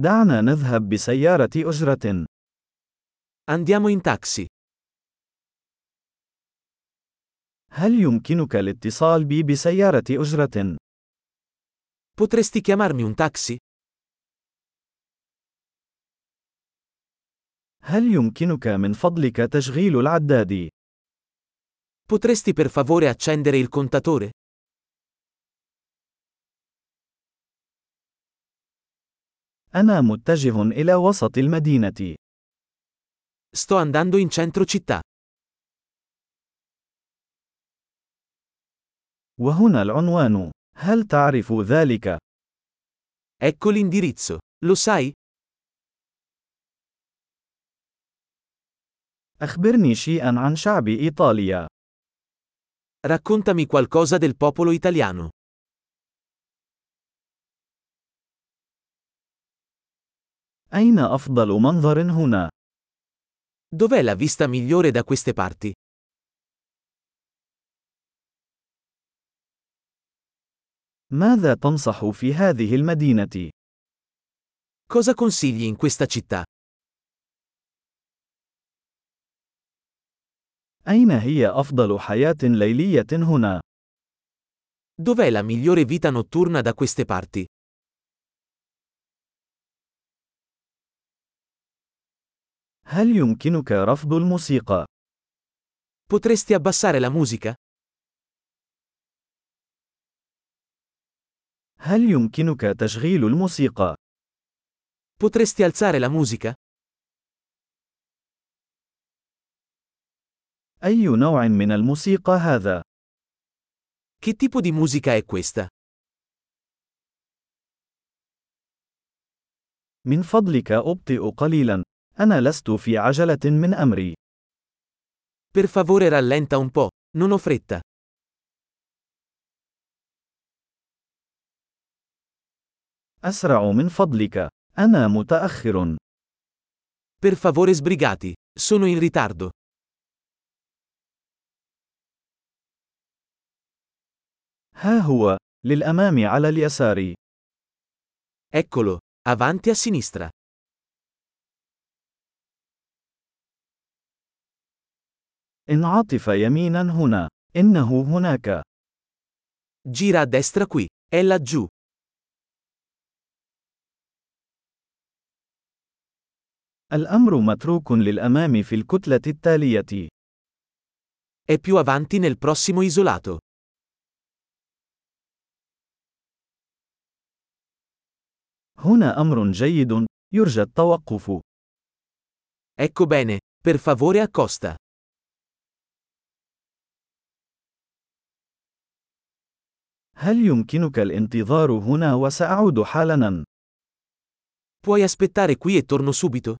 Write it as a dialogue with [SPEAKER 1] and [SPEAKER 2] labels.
[SPEAKER 1] دعنا نذهب بسيارة أجرة.
[SPEAKER 2] Andiamo in taxi.
[SPEAKER 1] هل يمكنك الاتصال بي بسيارة أجرة؟
[SPEAKER 2] Potresti chiamarmi un taxi?
[SPEAKER 1] هل يمكنك من فضلك تشغيل العداد؟
[SPEAKER 2] Potresti per favore accendere il contatore?
[SPEAKER 1] أنا متجه إلى وسط المدينة.
[SPEAKER 2] Sto andando in centro città.
[SPEAKER 1] وهنا العنوان. هل تعرف ذلك؟
[SPEAKER 2] Ecco l'indirizzo. Lo sai?
[SPEAKER 1] أخبرني شيئًا عن شعب إيطاليا.
[SPEAKER 2] Raccontami qualcosa del popolo italiano.
[SPEAKER 1] أين أفضل منظر هنا؟
[SPEAKER 2] Dov'è la vista migliore da queste parti?
[SPEAKER 1] ماذا تنصح في هذه المدينة؟
[SPEAKER 2] Cosa consigli in questa città?
[SPEAKER 1] أين هي أفضل حياة ليلية هنا؟
[SPEAKER 2] Dov'è la migliore vita notturna da queste parti?
[SPEAKER 1] هل يمكنك رفض الموسيقى؟
[SPEAKER 2] Potresti abbassare la musica?
[SPEAKER 1] هل يمكنك تشغيل الموسيقى؟
[SPEAKER 2] Potresti alzare la musica?
[SPEAKER 1] أي نوع من الموسيقى هذا؟
[SPEAKER 2] Che tipo di musica è questa?
[SPEAKER 1] من فضلك أبطئ قليلاً. أنا لست في عجلة من أمري.
[SPEAKER 2] Per favore rallenta un po', non ho fretta.
[SPEAKER 1] أسرع من فضلك. أنا متأخر.
[SPEAKER 2] Per favore sbrigati, sono in ritardo.
[SPEAKER 1] ها هو. للأمام على اليسار.
[SPEAKER 2] Eccolo, avanti a sinistra.
[SPEAKER 1] انعطف يميناً هنا. إنه هناك.
[SPEAKER 2] Gira a destra qui, è laggiù.
[SPEAKER 1] الأمر متروك للأمام في الكتلة التالية.
[SPEAKER 2] È più avanti nel prossimo isolato.
[SPEAKER 1] هنا أمر جيد. يرجى التوقف.
[SPEAKER 2] Ecco bene, per favore accosta.
[SPEAKER 1] هل يمكنك الانتظار هنا وسأعود حالاً؟
[SPEAKER 2] Puoi aspettare qui e torno subito?